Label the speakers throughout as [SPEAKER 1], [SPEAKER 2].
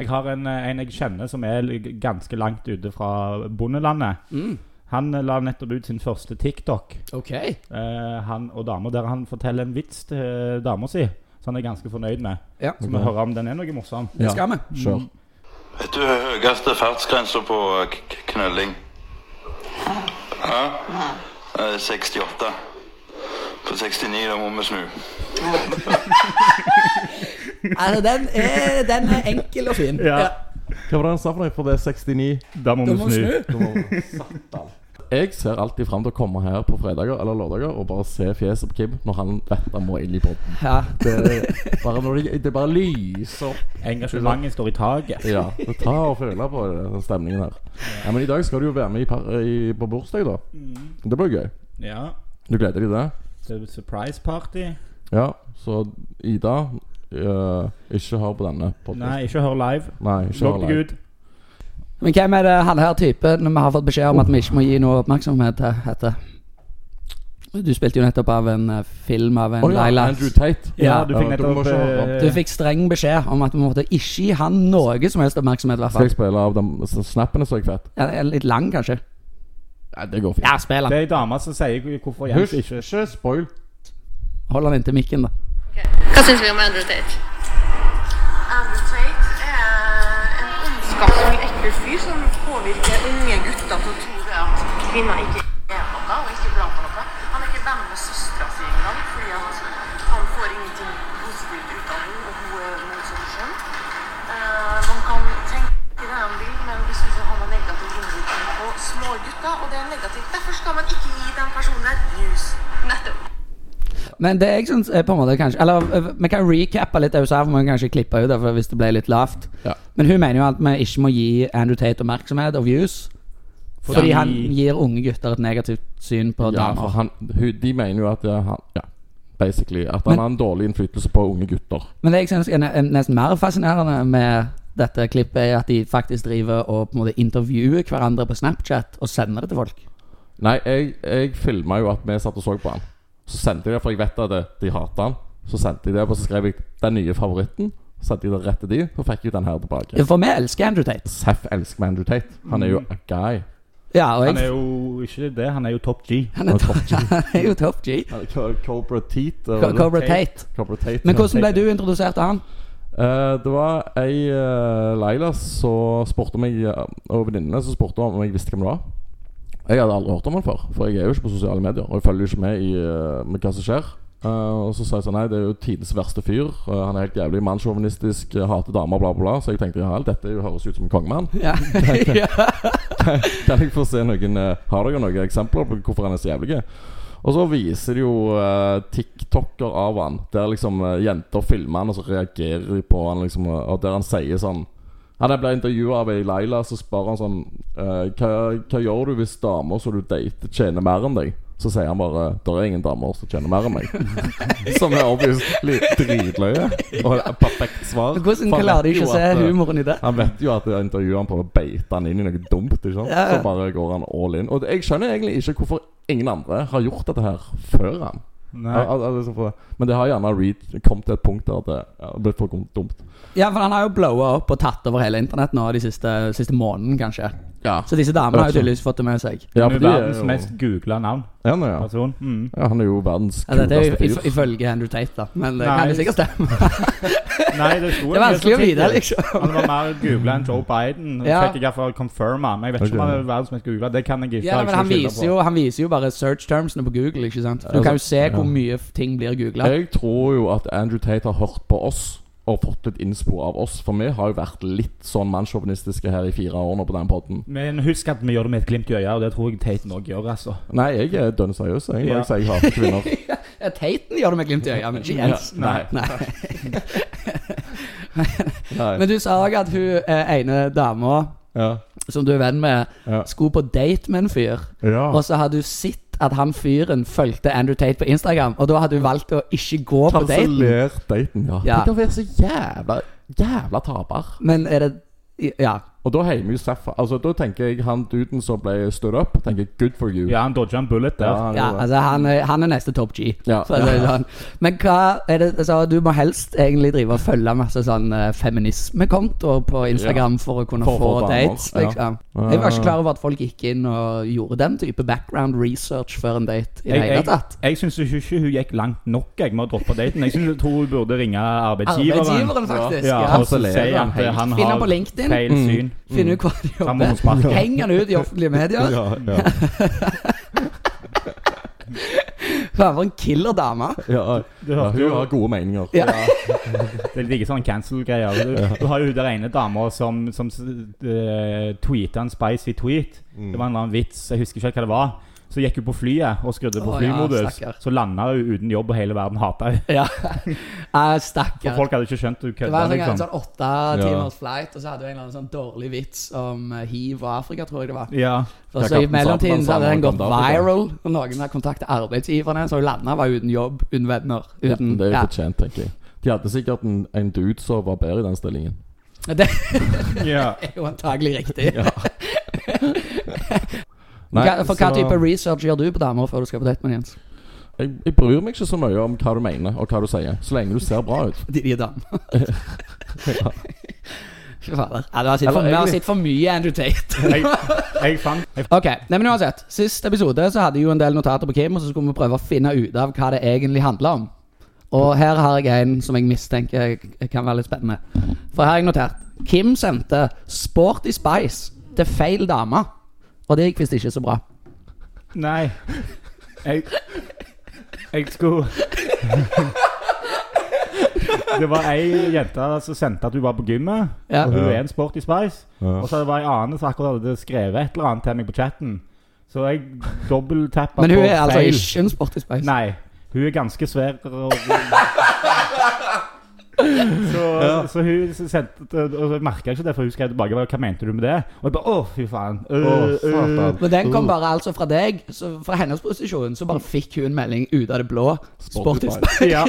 [SPEAKER 1] Jeg har en, eh, en jeg kjenner som er l- ganske langt ute fra bondelandet.
[SPEAKER 2] Mm.
[SPEAKER 1] Han eh, la nettopp ut sin første TikTok.
[SPEAKER 2] Ok.
[SPEAKER 1] Eh, han og dama der han forteller en vits til eh, dama si, som han er ganske fornøyd med.
[SPEAKER 2] Ja,
[SPEAKER 1] Så vi hører om den er noe morsom.
[SPEAKER 2] det skal vi.
[SPEAKER 3] Kjør.
[SPEAKER 4] Vet du høyeste fartsgrensa på eh, k- k- knølling? Hæ? Eh, 68. På 69, da må vi snu.
[SPEAKER 2] Altså, den, er, den er enkel og fin.
[SPEAKER 1] Ja.
[SPEAKER 3] Hva var det han sa for noe? For det er 69.
[SPEAKER 1] Da må
[SPEAKER 2] Du
[SPEAKER 1] vi
[SPEAKER 2] må
[SPEAKER 1] snu.
[SPEAKER 2] snu.
[SPEAKER 3] Jeg ser alltid fram til å komme her på fredager eller lørdager og bare se fjeset på Kim når han vet han må inn i podden.
[SPEAKER 2] Ja.
[SPEAKER 3] Det, bare når det, det bare lyser opp.
[SPEAKER 1] Engasjementet står i taket.
[SPEAKER 3] Ja, så ta og føle på det, den stemningen her. Ja, Men i dag skal du jo være med i, par, i, på bursdag, da. Det blir gøy.
[SPEAKER 1] Ja.
[SPEAKER 3] Du gleder deg til det?
[SPEAKER 1] Det er surprise party.
[SPEAKER 3] Ja, så Ida eh, Ikke hør på denne podkasten.
[SPEAKER 1] Nei, ikke hør live.
[SPEAKER 3] Nei, ikke hør
[SPEAKER 1] Logg deg
[SPEAKER 3] live.
[SPEAKER 1] ut.
[SPEAKER 2] Men hvem er det han her typen vi har fått beskjed om at vi ikke må gi noe oppmerksomhet til? Heter? Du spilte jo nettopp av en eh, film av en
[SPEAKER 3] Å ja,
[SPEAKER 2] Laila.
[SPEAKER 3] Andrew Tate.
[SPEAKER 1] Ja, du fikk
[SPEAKER 3] Ja, du må
[SPEAKER 1] nettopp
[SPEAKER 3] ikke høre
[SPEAKER 1] eh,
[SPEAKER 2] Du fikk streng beskjed om at vi måtte ikke gi han noe som helst oppmerksomhet. i hvert
[SPEAKER 3] Skal
[SPEAKER 2] fall
[SPEAKER 3] jeg spille av de så snappene så jeg fett?
[SPEAKER 2] ja, den er Litt lang, kanskje.
[SPEAKER 3] Nei, det går fint.
[SPEAKER 2] Ja, spill
[SPEAKER 1] Det
[SPEAKER 2] han.
[SPEAKER 1] er ei dame som sier hvorfor Jens
[SPEAKER 3] Husk,
[SPEAKER 1] ikke
[SPEAKER 3] ikke spoil.
[SPEAKER 2] Hold han inntil mikken, da.
[SPEAKER 5] Hva syns vi om Andrew Tate?
[SPEAKER 6] Andrew Tate er en ondskapsfull, ekkel fyr som påvirker unge gutter til å tro at kvinner ikke er noe og ikke bra på noe. Han er ikke venn med søstera si engang, fordi at han får ingenting positivt ut av henne, og hun er motsatt kjønn. Eh, man kan tenke det han vil, men vi syns han har negativ innvirkning på små gutter, og det er negativt. Derfor skal man ikke gi den personen der juice.
[SPEAKER 5] Nettopp.
[SPEAKER 2] Men det jeg synes er på en måte kanskje Eller øh, vi kan recappe litt også her, for vi kan kanskje klippe ut det for hvis det ble litt lavt.
[SPEAKER 3] Ja.
[SPEAKER 2] Men hun mener jo at vi ikke må gi Andrew Tate oppmerksomhet og views. Fordi han gir unge gutter et negativt syn på
[SPEAKER 3] Ja, for
[SPEAKER 2] damer.
[SPEAKER 3] han, hun, de mener jo at eh, han Ja, basically. At han
[SPEAKER 2] Men-
[SPEAKER 3] har en dårlig innflytelse på unge gutter.
[SPEAKER 2] Men det jeg synes er ne- er nesten mer fascinerende med dette klippet, er at de faktisk driver og på en måte intervjuer hverandre på Snapchat og sender det til folk.
[SPEAKER 3] Nei, jeg, jeg filma jo at vi satt og så på han. Så sendte jeg det, for jeg vet at det, de hater han. Så sendte jeg det, og så skrev jeg 'den nye favoritten'. Så sendte jeg det rett til de, og fikk jo den her tilbake.
[SPEAKER 2] For vi elsker Andrew Tate.
[SPEAKER 3] Seff elsker Mandrew Tate. Han er jo a guy.
[SPEAKER 2] Ja, og jeg,
[SPEAKER 1] Han er jo ikke det, han er jo top G.
[SPEAKER 2] han er, top, han er jo top G.
[SPEAKER 3] Han er co- Cobra Teat. eller-
[SPEAKER 2] Co- Cobra Tate.
[SPEAKER 3] Cobra Tate.
[SPEAKER 2] Men
[SPEAKER 3] ja.
[SPEAKER 2] hvordan ble du introdusert til han?
[SPEAKER 3] Eh, det var ei uh, Leila som spurte meg eh, og venninnene som spurte om jeg visste hvem det var. Jeg hadde aldri hørt om han før, for jeg er jo ikke på sosiale medier. Og jeg følger jo ikke med i eh, med hva som skjer. Eh, og så sa jeg sånn Nei, det er jo tidenes verste fyr. Eh, han er helt jævlig mannssjåvinistisk, eh, hater damer, bla, bla, bla. Så jeg tenkte ja, vel, dette er jo- høres ut som en kongemann.
[SPEAKER 2] Ja.
[SPEAKER 3] Kan jeg få se noen eh, Har dere noen eksempler på hvorfor han er så jævlig? Og så viser de jo eh, TikToker av han Der liksom eh, jenter filmer han Og så reagerer de på han liksom eh, Og der han sier sånn Han ble intervjuet av ei Leila Så spør han sånn eh, hva, hva gjør du hvis damer som du dater tjener mer enn deg? Så sier han bare Det er ingen damer som tjener mer enn meg Som er obviously dritløye Og et perfekt svar
[SPEAKER 2] Hvordan
[SPEAKER 3] For han
[SPEAKER 2] klarer de
[SPEAKER 3] vet jo
[SPEAKER 2] ikke å se
[SPEAKER 3] at, eh,
[SPEAKER 2] humoren i det?
[SPEAKER 3] han vet jo at jeg intervjuer han prøver å beite han inn i noe dumt. ikke sant?
[SPEAKER 2] Ja, ja.
[SPEAKER 3] Så bare går han all in. Og det- jeg skjønner egentlig ikke hvorfor ingen andre har gjort dette her før han.
[SPEAKER 1] Nei.
[SPEAKER 3] Al- al- al- liksom for- Men det har gjerne Reed kommet til et punkt der at det ja, har blitt for dumt.
[SPEAKER 2] Ja, for han har jo blowa opp og tatt over hele internett nå de siste, siste måneden, kanskje.
[SPEAKER 3] Ja,
[SPEAKER 2] Så disse damene har jo tydeligvis fått det med seg.
[SPEAKER 3] ja,
[SPEAKER 1] Han
[SPEAKER 3] for
[SPEAKER 1] er
[SPEAKER 3] de er
[SPEAKER 1] verdens
[SPEAKER 3] jo,
[SPEAKER 1] mest googla navn.
[SPEAKER 3] ja, nå, ja.
[SPEAKER 1] Person. Mm.
[SPEAKER 3] ja, han er jo verdens
[SPEAKER 2] Ja, dette er jo
[SPEAKER 3] kuleste
[SPEAKER 2] if-
[SPEAKER 3] fyr.
[SPEAKER 2] ifølge Andrew Tate, da. Men det
[SPEAKER 1] Nei.
[SPEAKER 2] kan jo sikkert stemme.
[SPEAKER 1] Nei, det, sto
[SPEAKER 2] Det er
[SPEAKER 1] en
[SPEAKER 2] vanskelig å
[SPEAKER 1] del
[SPEAKER 2] vite,
[SPEAKER 1] artikler.
[SPEAKER 2] liksom.
[SPEAKER 1] Han var mer googla enn Joe Biden.
[SPEAKER 2] Ja.
[SPEAKER 1] Fikk jeg iallfall confirma. Men jeg vet ikke om
[SPEAKER 3] Ok.
[SPEAKER 1] han er verdens mest googla. Det kan jeg ikke.
[SPEAKER 2] Ja,
[SPEAKER 1] har
[SPEAKER 2] men
[SPEAKER 1] ikke
[SPEAKER 2] han
[SPEAKER 1] noe kilder
[SPEAKER 2] viser,
[SPEAKER 1] på.
[SPEAKER 2] jo, han viser jo bare search termsene på Google, ikke sant. Du kan jo
[SPEAKER 3] altså,
[SPEAKER 2] se hvor mye f- ting blir googla.
[SPEAKER 3] Jeg tror jo at Andrew Tate har hørt på oss og fått litt innspo av oss. For vi har jo vært litt sånn mannssjåvinistiske her i fire år nå på den podden.
[SPEAKER 1] Men husk at vi gjør det med et glimt i øyet, og det tror jeg Tate òg gjør, altså.
[SPEAKER 3] Nei, jeg er dønn seriøs. Jeg,
[SPEAKER 1] Ja.
[SPEAKER 3] ja. jeg hater kvinner.
[SPEAKER 2] Ja, Taten gjør det med glimt i øyet, men ikke Jens.
[SPEAKER 3] Ja, nei.
[SPEAKER 2] Nei.
[SPEAKER 3] Nei.
[SPEAKER 2] Men du sa òg at hun eh, ene dama
[SPEAKER 3] Ja.
[SPEAKER 2] som du er venn med,
[SPEAKER 3] Ja.
[SPEAKER 2] skulle på date med en fyr.
[SPEAKER 3] Ja.
[SPEAKER 2] Og så har du sett at han fyren fulgte Andrew Tate på Instagram, og da har du valgt å ikke gå på daten.
[SPEAKER 3] Kansellert daten, ja.
[SPEAKER 2] Ja.
[SPEAKER 3] Tenk å være så jævla, jævla taper.
[SPEAKER 2] Men er det Ja.
[SPEAKER 3] Og da heimer jo Saffa. Altså, da tenker jeg han duden som ble stood up, tenker jeg, good for you.
[SPEAKER 1] Ja, han dodga en bullet der.
[SPEAKER 3] han
[SPEAKER 2] Ja,
[SPEAKER 3] gjorde det.
[SPEAKER 2] altså han er, han er neste Top G.
[SPEAKER 3] Ja.
[SPEAKER 2] For å si det sånn. Men hva er det altså, Du må helst egentlig drive og følge masse sånn eh, feminismekontoer på Instagram for å kunne
[SPEAKER 3] For å
[SPEAKER 2] få
[SPEAKER 3] få damer,
[SPEAKER 2] dates.
[SPEAKER 3] ja.
[SPEAKER 2] Liksom. Jeg var ikke klar over at folk gikk inn og gjorde den type background research før en date. I det
[SPEAKER 1] Jeg,
[SPEAKER 2] hele
[SPEAKER 1] jeg,
[SPEAKER 2] tatt
[SPEAKER 1] jeg syns ikke ikke hun gikk langt nok jeg med å droppe daten. Jeg syns hun tror hun burde ringe arbeidsgiveren.
[SPEAKER 2] Arbeidsgiveren, faktisk.
[SPEAKER 1] Ja,
[SPEAKER 2] Ja.
[SPEAKER 1] og så si
[SPEAKER 3] Harselere
[SPEAKER 1] at eh, han
[SPEAKER 2] Finne
[SPEAKER 1] har
[SPEAKER 2] på LinkedIn.
[SPEAKER 1] feil syn.
[SPEAKER 2] Finne ut hvor de
[SPEAKER 1] Da må hun
[SPEAKER 2] jobber.
[SPEAKER 1] sparke.
[SPEAKER 2] Heng han ut i offentlige medier.
[SPEAKER 3] Ja, ja,
[SPEAKER 2] Faen, for en killer dame.
[SPEAKER 3] ja. ja, hun har gode meninger.
[SPEAKER 2] Ja.
[SPEAKER 1] Det ligger sånn cancel-greier. Du, du har jo den ene dama som, som eh, tweeta en spicy tweet. Det var en eller annen vits, jeg husker ikke helt hva det var. Så gikk hun på flyet og skrudde på
[SPEAKER 2] Å, ja,
[SPEAKER 1] flymodus.
[SPEAKER 2] stakkar.
[SPEAKER 1] så landa hun uten jobb, og hele verden hata henne.
[SPEAKER 2] Ja. Eh,
[SPEAKER 1] For
[SPEAKER 2] Stakkar.
[SPEAKER 1] folk hadde ikke skjønt hun
[SPEAKER 2] Det
[SPEAKER 1] kødda,
[SPEAKER 2] var en sånn,
[SPEAKER 1] liksom.
[SPEAKER 2] sånn åtte timers flight, og så hadde hun en eller annen sånn dårlig vits om eh, hiv og Afrika, tror jeg det var.
[SPEAKER 1] Ja.
[SPEAKER 2] Og
[SPEAKER 3] Ja,
[SPEAKER 2] så I
[SPEAKER 3] Kaptein
[SPEAKER 2] mellomtiden
[SPEAKER 3] Sabeltann
[SPEAKER 2] så hadde den
[SPEAKER 3] sa han
[SPEAKER 2] gått
[SPEAKER 3] kom til Afrika.
[SPEAKER 2] viral. Og noen har kontaktet arbeidsgiverne, så hun landa var uten jobb, uten venner.
[SPEAKER 3] Ja,
[SPEAKER 2] Uten,
[SPEAKER 3] men det er jo fortjent, tenker jeg. De hadde sikkert en, en dude som var bedre i den stillingen.
[SPEAKER 2] Ja. det
[SPEAKER 1] ja.
[SPEAKER 2] er jo antagelig riktig.
[SPEAKER 3] Nei,
[SPEAKER 2] Hva- for hva
[SPEAKER 3] så-
[SPEAKER 2] type research gjør du på damer før du skal på date med dem, Jens?
[SPEAKER 3] jeg, jeg bryr meg ikke så mye om hva du mener, og hva du sier, så lenge du ser bra ut.
[SPEAKER 2] De, de er damer.
[SPEAKER 3] Ja.
[SPEAKER 2] Fy fader. Ja, du har sett for,
[SPEAKER 3] Eller
[SPEAKER 2] vi har
[SPEAKER 3] egentlig-
[SPEAKER 2] sett for mye Andrew Tate.
[SPEAKER 1] Jeg, jeg fant jeg,
[SPEAKER 2] Ok, nei, men uansett Sist episode så hadde jeg jo en del notater på Kim, og så skulle vi prøve å finne ut av hva det egentlig handler om. Og her har jeg en som jeg mistenker k- kan være litt spennende. For her har jeg notert Kim sendte Sporty Spice til feil dame. Og det gikk visst ikke så bra.
[SPEAKER 1] Nei. Jeg Jeg skulle Det var ei jente som sendte at hun var på gymmet,
[SPEAKER 2] Ja.
[SPEAKER 1] og hun
[SPEAKER 3] Ja.
[SPEAKER 1] er en sporty spice. Og så var det ei annen som akkurat hadde skrevet et eller annet til meg på chatten. Så jeg dobbelttappa på
[SPEAKER 2] Men hun er altså
[SPEAKER 1] feil.
[SPEAKER 2] ikke en Sporty Spice.
[SPEAKER 1] Nei. Hun er ganske svær. Og så, så hun sendte Og så merka jeg ikke det, for hun skrev tilbake hva hva mente du med det. Og jeg bare å, fy faen. Øh,
[SPEAKER 3] Å,
[SPEAKER 1] øh.
[SPEAKER 3] satan.
[SPEAKER 2] Men den kom bare altså fra deg. Så fra hennes posisjon så bare fikk hun en melding ut av det blå. Sporty
[SPEAKER 3] Sporty
[SPEAKER 2] Spice.
[SPEAKER 1] Ja.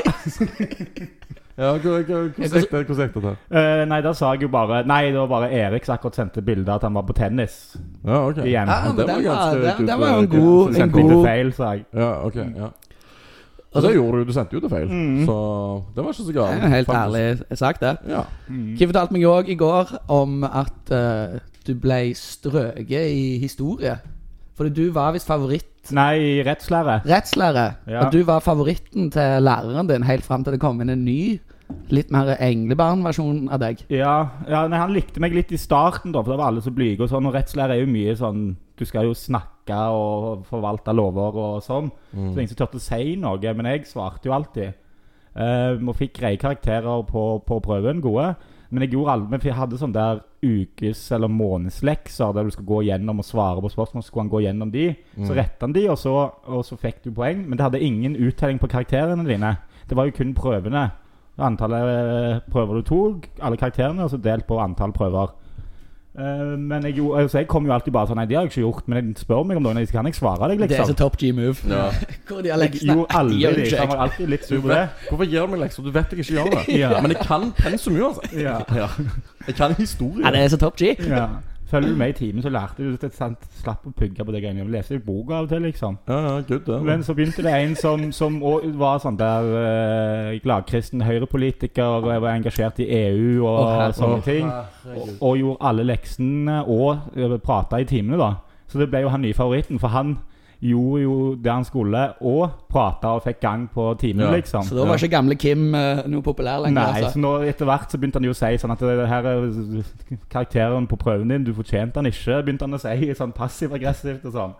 [SPEAKER 3] Ja, hvordan gikk det? Hvordan gikk det?
[SPEAKER 1] Eh, nei, da sa jeg jo bare Nei, det var bare Erik som akkurat sendte bilde av at han var på tennis
[SPEAKER 3] Ja, ok.
[SPEAKER 1] igjen.
[SPEAKER 2] Ja,
[SPEAKER 1] Ja,
[SPEAKER 2] men
[SPEAKER 3] det var
[SPEAKER 2] den var,
[SPEAKER 3] ganske
[SPEAKER 2] den,
[SPEAKER 3] good,
[SPEAKER 2] den var jo en
[SPEAKER 3] Kim.
[SPEAKER 2] god, Oh, en
[SPEAKER 1] sendte jeg til
[SPEAKER 2] god
[SPEAKER 1] feil, sa jeg.
[SPEAKER 3] Ja, ok, ja. Og det gjorde du, du sendte jo det feil, så det var ikke så
[SPEAKER 2] Det
[SPEAKER 3] galt.
[SPEAKER 2] er jo Helt
[SPEAKER 3] faktisk.
[SPEAKER 2] ærlig sagt, det.
[SPEAKER 3] Ja.
[SPEAKER 2] Kim fortalte meg òg i går om at eh, du ble strøket i historie. Fordi du var visst favoritt
[SPEAKER 1] Nei, i rettslære.
[SPEAKER 2] rettslærer.
[SPEAKER 1] Ja.
[SPEAKER 2] Og du var favoritten til læreren din helt fram til det kom inn en ny, litt mer englebarnversjon av deg.
[SPEAKER 1] Ja, ja nei, han likte meg litt i starten, da, for da var alle så blyge og sånn. Og rettslære er jo mye sånn Du skal jo snakke og forvalte lover og sånn.
[SPEAKER 2] Mm.
[SPEAKER 1] Så det er ingen som turte å si noe, men jeg svarte jo alltid. Um, og fikk greie karakterer på, på prøven, gode. Men jeg gjorde aldri, men jeg hadde sånn der ukes- eller månedslekser der du skal gå gjennom og svare på spørsmål. Så skulle han gå gjennom de,
[SPEAKER 2] Mm.
[SPEAKER 1] så retta han de, og så, og så fikk du poeng. Men det hadde ingen uttelling på karakterene dine. Det var jo kun prøvene. Antallet eh, prøver du tok, alle karakterene, og så delt på antall prøver. Eh, men jeg, gjorde- altså jeg kom jo alltid bare sånn Nei, det har jeg ikke gjort. Men jeg spør meg om noen av disse, kan jeg svare deg,
[SPEAKER 2] Det er
[SPEAKER 1] liksom?
[SPEAKER 2] så top G-move.
[SPEAKER 3] Ja.
[SPEAKER 2] Hvor de har lekt
[SPEAKER 1] Jo, aldri.
[SPEAKER 2] gjør
[SPEAKER 1] liksom.
[SPEAKER 2] ikke
[SPEAKER 1] Han
[SPEAKER 2] jeg.
[SPEAKER 1] var alltid litt sur
[SPEAKER 3] Du
[SPEAKER 1] på det.
[SPEAKER 3] vet, hvorfor gir du meg lekser? Du vet jeg ikke gjør det.
[SPEAKER 1] Ja.
[SPEAKER 3] Men jeg kan pensum uansett.
[SPEAKER 1] Ja.
[SPEAKER 3] Jeg kan historie.
[SPEAKER 2] Ja, det er så top G.
[SPEAKER 1] Ja. Følger du med i timen, så lærte du at han slapp å pugge på det greiene. Jeg leste jo boka av og til, liksom.
[SPEAKER 3] Ja, ja, good, det.
[SPEAKER 1] Men så begynte det en som, som også var sånn der eh, gladkristen høyrepolitiker og var engasjert i EU og
[SPEAKER 2] Å, herre-
[SPEAKER 1] sånne ting. Og, og gjorde alle leksene og eh, prata i timene, da. Så det ble jo han nye favoritten, for han gjorde jo det han skulle, og prata og fikk gang på timen,
[SPEAKER 3] Ja.
[SPEAKER 1] liksom.
[SPEAKER 2] Så da var ikke gamle Kim eh, noe populær lenger.
[SPEAKER 1] Nei, sånn
[SPEAKER 2] altså.
[SPEAKER 1] så nå etter hvert så begynte han jo å si sånn at det her er karakteren på prøven din, du fortjente han ikke, begynte han å si sånn passiv-aggressivt og sånn.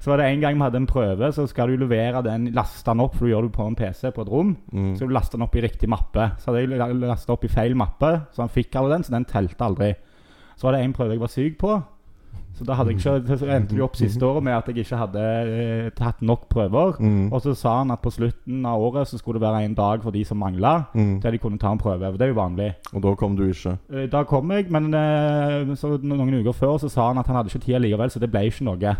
[SPEAKER 1] Så var det en gang vi hadde en prøve, så skal du levere den, laste den opp, for du gjør det på en PC på et rom,
[SPEAKER 3] Mm.
[SPEAKER 1] så du laster den opp i riktig mappe. Så hadde jeg lastet opp i feil mappe, så han fikk alle den, så den telte aldri. Så var det en prøve jeg var syk på, så da hadde jeg ikke, så endte vi opp siste året med at jeg ikke hadde eh, tatt nok prøver.
[SPEAKER 3] Mm.
[SPEAKER 1] Og så sa han at på slutten av året så skulle det være en dag for de som mangla, der de kunne ta en prøve. Mm. Og det er jo vanlig.
[SPEAKER 3] Og da kom du ikke.
[SPEAKER 1] Eh, Da kom jeg, men eh, så no- noen uker før så sa han at han hadde ikke tid likevel, så det ble ikke noe.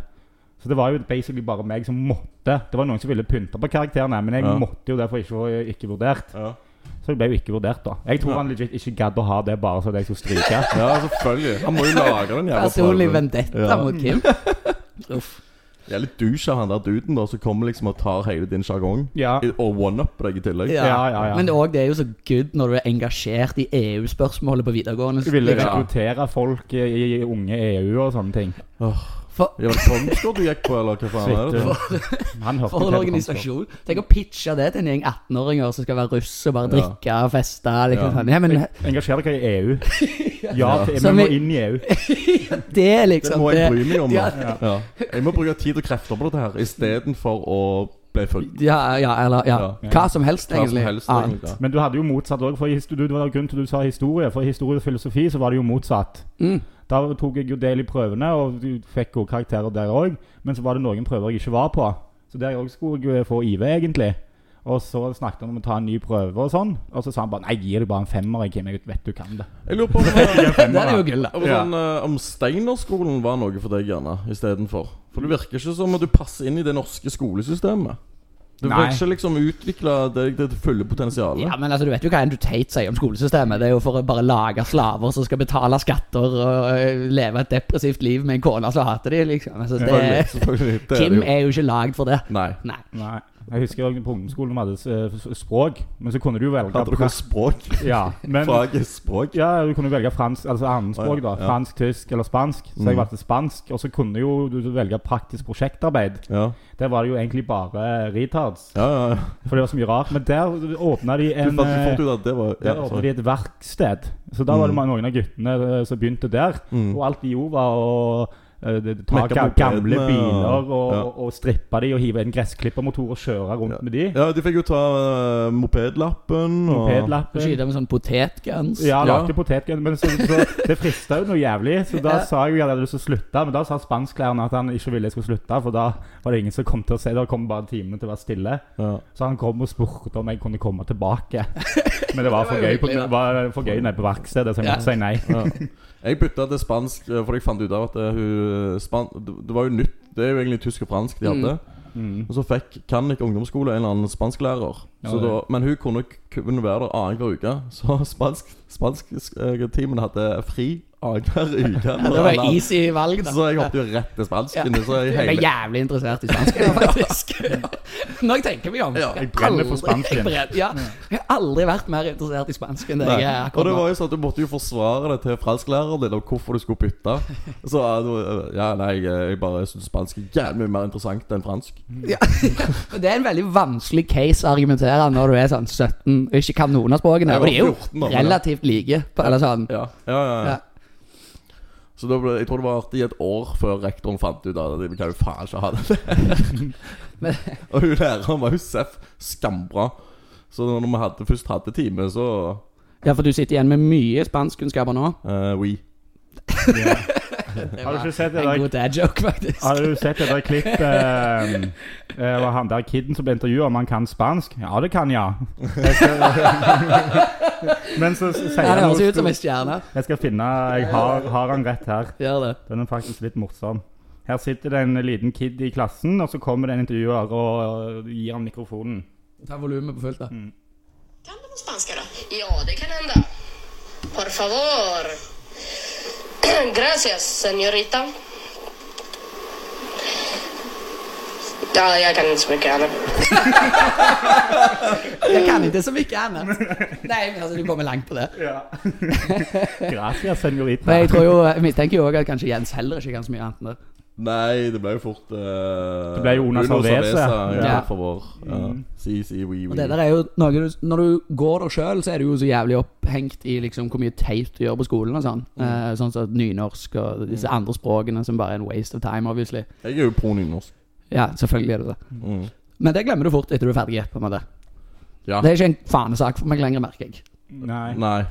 [SPEAKER 1] Så det var jo basically bare meg som måtte. Det var noen som ville pynte på karakterene, men jeg
[SPEAKER 3] Ja.
[SPEAKER 1] måtte jo derfor eh, ikke få ikke vurdert.
[SPEAKER 3] Ja.
[SPEAKER 1] Så det ble jo ikke vurdert, da. Jeg tror han legit ikke gadd å ha det bare så jeg skulle stryke.
[SPEAKER 3] Ja, selvfølgelig. Han må jo lagre den jævla
[SPEAKER 2] Personlig
[SPEAKER 3] prøven.
[SPEAKER 2] vendetta
[SPEAKER 3] Ja.
[SPEAKER 2] mot Kim. Uff.
[SPEAKER 3] Det er litt douche av han der duden da, som kommer liksom og tar hele din sjargong.
[SPEAKER 1] Ja.
[SPEAKER 3] I- Og one-up deg i tillegg.
[SPEAKER 1] Ja, ja, ja.
[SPEAKER 2] Men det er også- det er jo så good når du er engasjert i EU-spørsmålet på videregående.
[SPEAKER 1] Du ville
[SPEAKER 2] Liksom.
[SPEAKER 1] rekruttere folk i, i unge EU og sånne ting.
[SPEAKER 3] Åh,
[SPEAKER 2] For,
[SPEAKER 3] Ja, var det Kongsgård du gikk på, eller hva faen er det?
[SPEAKER 1] Svikter.
[SPEAKER 3] da?
[SPEAKER 1] Han hørte
[SPEAKER 2] for en
[SPEAKER 1] til
[SPEAKER 2] organisasjon. Tenk å pitche det til en gjeng 18-åringer som skal være russ og bare drikke og feste. Liksom.
[SPEAKER 3] Ja.
[SPEAKER 2] sånn. Ja, men
[SPEAKER 1] Trondheim. Engasjer dere i EU. Ja, til, vi
[SPEAKER 2] Som
[SPEAKER 1] må
[SPEAKER 2] i-
[SPEAKER 1] inn i E EU.
[SPEAKER 2] det er
[SPEAKER 3] Det
[SPEAKER 2] liksom
[SPEAKER 3] må jeg bry meg om.
[SPEAKER 2] Ja,
[SPEAKER 3] da. Ja. Jeg må bruke tid og krefter på dette her istedenfor å bli fulgt.
[SPEAKER 2] ja, ja, eller ja.
[SPEAKER 3] Ja.
[SPEAKER 2] Hva som helst,
[SPEAKER 3] Hva som
[SPEAKER 2] egentlig.
[SPEAKER 3] helst,
[SPEAKER 2] Annet.
[SPEAKER 3] egentlig.
[SPEAKER 1] Men du hadde jo motsatt òg. Det var grunnen til at du sa historie. For i historie og filosofi så var det jo motsatt.
[SPEAKER 2] Mm.
[SPEAKER 1] Da tok jeg jo del i prøvene og du fikk gode karakterer der òg. Men så var det noen prøver jeg ikke var på. Så der òg skulle jeg jo få IV, egentlig. Og så snakket han om å ta en ny prøve og sånn. Og så sa han bare nei, gi deg bare en femmer, jeg, Kim. Jeg vet du kan det.
[SPEAKER 3] Jeg lurer på om, eh,
[SPEAKER 2] Det er jo gull, da.
[SPEAKER 3] om, sånn, eh, om Steinerskolen var noe for deg, gjerne, istedenfor. For det virker ikke som at du passer inn i det norske skolesystemet. Du
[SPEAKER 1] Nei.
[SPEAKER 3] fikk ikke liksom utvikla deg til det fulle potensialet.
[SPEAKER 2] Ja, men altså, Du vet jo hva Andrew Tate sier om skolesystemet. Det er jo for å bare lage slaver som skal betale skatter og øh, leve et depressivt liv med en kone som hater de, liksom. Altså,
[SPEAKER 3] Selvfølgelig,
[SPEAKER 2] det,
[SPEAKER 3] selvfølgelig. sånn. Det er
[SPEAKER 2] Kim
[SPEAKER 3] det jo.
[SPEAKER 2] er jo ikke lagd for det.
[SPEAKER 3] Nei.
[SPEAKER 2] Nei.
[SPEAKER 1] Nei. Jeg husker også på ungdomsskolen vi hadde eh, s- språk, men så kunne du jo velge
[SPEAKER 3] Hadde dere språk?
[SPEAKER 1] Ja, men
[SPEAKER 3] Faget språk?
[SPEAKER 1] Ja, du kunne jo velge fransk, altså annenspråk, da.
[SPEAKER 3] Ja. Mm.
[SPEAKER 1] Fransk, tysk eller spansk. Så jeg valgte spansk. Og så kunne jo du du velge praktisk prosjektarbeid.
[SPEAKER 3] Ja.
[SPEAKER 1] Der var det jo egentlig bare retards,
[SPEAKER 3] Ja, ja, ja.
[SPEAKER 1] for det var så mye rart. Men der åpna de
[SPEAKER 3] Du
[SPEAKER 1] en
[SPEAKER 3] fant du fant
[SPEAKER 1] eh,
[SPEAKER 3] ut at det var ja,
[SPEAKER 1] der åpna
[SPEAKER 3] sorry. Mm.
[SPEAKER 1] de et verksted. Så da var det noen av guttene eh, som begynte der. Og alt de gjorde, var å eh, det- ta
[SPEAKER 3] Mekke
[SPEAKER 1] ga-
[SPEAKER 3] mopedene,
[SPEAKER 1] gamle
[SPEAKER 3] ja.
[SPEAKER 1] biler og,
[SPEAKER 3] Ja.
[SPEAKER 1] og, og strippe de og hive en gressklippermotor og kjøre rundt med de.
[SPEAKER 3] Ja, de fikk jo ta eh, mopedlappen
[SPEAKER 2] Så
[SPEAKER 3] og
[SPEAKER 1] Mopedlappen.
[SPEAKER 2] Skyter med sånn potetguns.
[SPEAKER 1] Ja,
[SPEAKER 3] Ja.
[SPEAKER 1] lagde potetgull. Men så, så, det frista jo noe jævlig, så da
[SPEAKER 2] Ja.
[SPEAKER 1] sa jeg jo at jeg hadde lyst til å slutte. Men da sa spansklæreren at han ikke ville jeg skulle slutte, for da var det ingen som kom til å se. Da kom bare timene til å være stille.
[SPEAKER 3] Ja.
[SPEAKER 1] Så han kom og spurte om jeg kunne komme tilbake. Men det var for gøy, på,
[SPEAKER 2] hyggelig, da.
[SPEAKER 1] var for gøy nede på verkstedet, så jeg
[SPEAKER 2] Ja.
[SPEAKER 1] måtte si nei.
[SPEAKER 3] Ja. Jeg bytta til spansk, eh, for jeg fant ut av at eh, hun, span det det var jo nytt. Det er jo egentlig tysk og fransk de
[SPEAKER 2] Mm.
[SPEAKER 3] hadde. Og så fikk Kannik ungdomsskole en eller annen spasklærer.
[SPEAKER 1] Ja,
[SPEAKER 3] Så
[SPEAKER 1] det-
[SPEAKER 3] da, men hun kunne k- kunne være der annenhver uke. Så spansktimen spansk, eh, timen hadde fri annenhver uke.
[SPEAKER 2] Det var easy valg, da.
[SPEAKER 3] Så jeg hoppet jo rett til spansken.
[SPEAKER 2] Ja.
[SPEAKER 3] Så jeg
[SPEAKER 2] Jeg er
[SPEAKER 3] hele
[SPEAKER 2] jævlig interessert i spansk, jeg, faktisk. Når jeg tenker meg om.
[SPEAKER 3] Ja,
[SPEAKER 1] jeg brenner for
[SPEAKER 2] aldri-
[SPEAKER 1] spansken.
[SPEAKER 2] Jeg, brenner, ja, jeg har aldri vært mer interessert i spansk enn det jeg er
[SPEAKER 3] Nei. Og det
[SPEAKER 2] akkurat nå.
[SPEAKER 3] var jo sånn at Du måtte jo forsvare det til fransklæreren din om hvorfor du skulle bytte. Så eh, du- ja, nei, jeg jeg bare syns spansk er jævlig mye mer interessant enn fransk.
[SPEAKER 2] Ja. Men Det er en veldig vanskelig case å argumentere når du er sånn 17 og ikke kan noen av språkene.
[SPEAKER 3] Jeg
[SPEAKER 2] Og de er
[SPEAKER 3] var
[SPEAKER 2] jo
[SPEAKER 3] 14 da, men ja.
[SPEAKER 2] relativt like. På, eller sånn.
[SPEAKER 3] Ja, ja, ja, ja.
[SPEAKER 2] Ja.
[SPEAKER 3] Så da ble, jeg tror det var artig i et år før rektoren fant ut av det. Vi kan jo faen ikke ha det.
[SPEAKER 2] Men-
[SPEAKER 3] og hun læreren var jo seff skambra. Så når vi hadde, først hadde time, så
[SPEAKER 2] ja, for du sitter igjen med mye spanskkunnskaper nå.
[SPEAKER 3] eh, We.
[SPEAKER 1] Har du ikke sett det
[SPEAKER 2] En
[SPEAKER 1] der,
[SPEAKER 2] god dad joke, faktisk.
[SPEAKER 1] har du sett det der klippet eh, eh, var han der kiden som ble intervjua om han kan spansk? Ja, det kan jeg. Jeg skal- Men så sier
[SPEAKER 2] Ja, det
[SPEAKER 1] han
[SPEAKER 2] høres
[SPEAKER 1] noe
[SPEAKER 2] ut som
[SPEAKER 1] stort.
[SPEAKER 2] en stjerne.
[SPEAKER 1] Jeg skal finne Jeg har, har han rett her.
[SPEAKER 2] Gjør det.
[SPEAKER 1] Den er faktisk litt morsom. Her sitter det en liten kid i klassen, og så kommer det en intervjuer og øh, gir ham mikrofonen.
[SPEAKER 2] Ta volumet på fullt, da.
[SPEAKER 7] Kan du på spanska då?
[SPEAKER 5] Ja, det kan hända. Por favor. Gracias, señorita. Ja, jag kan inte så mycket annat.
[SPEAKER 2] Jeg kan ikke så mye annet. Nei, men altså, du kommer langt på det.
[SPEAKER 1] Gracias,
[SPEAKER 2] Men
[SPEAKER 1] senorita.
[SPEAKER 2] jeg tror jo, jeg mistenker jo også at kanskje Jens heller ikke kan så mye annet enn det.
[SPEAKER 3] Nei, det ble jo fort eh,
[SPEAKER 1] Det ble jo Una Cerveza.
[SPEAKER 3] Ja,
[SPEAKER 2] Ja.
[SPEAKER 3] for vår. Ja. Si, si, we,
[SPEAKER 2] Mm. Og
[SPEAKER 3] we.
[SPEAKER 2] det der er jo noe du, Når du går der sjøl, så er du jo så jævlig opphengt i liksom hvor mye teit du gjør på skolen. og Sånn eh, Sånn som nynorsk og disse andre språkene som bare er en waste of time, obviously.
[SPEAKER 3] Jeg er jo Mm. pro nynorsk.
[SPEAKER 2] Ja, selvfølgelig er det det. Men det glemmer du fort etter du er ferdig. på en måte
[SPEAKER 3] Ja.
[SPEAKER 2] Det er ikke en fanesak for meg lenger, merker jeg.
[SPEAKER 1] Nei,
[SPEAKER 3] Nei.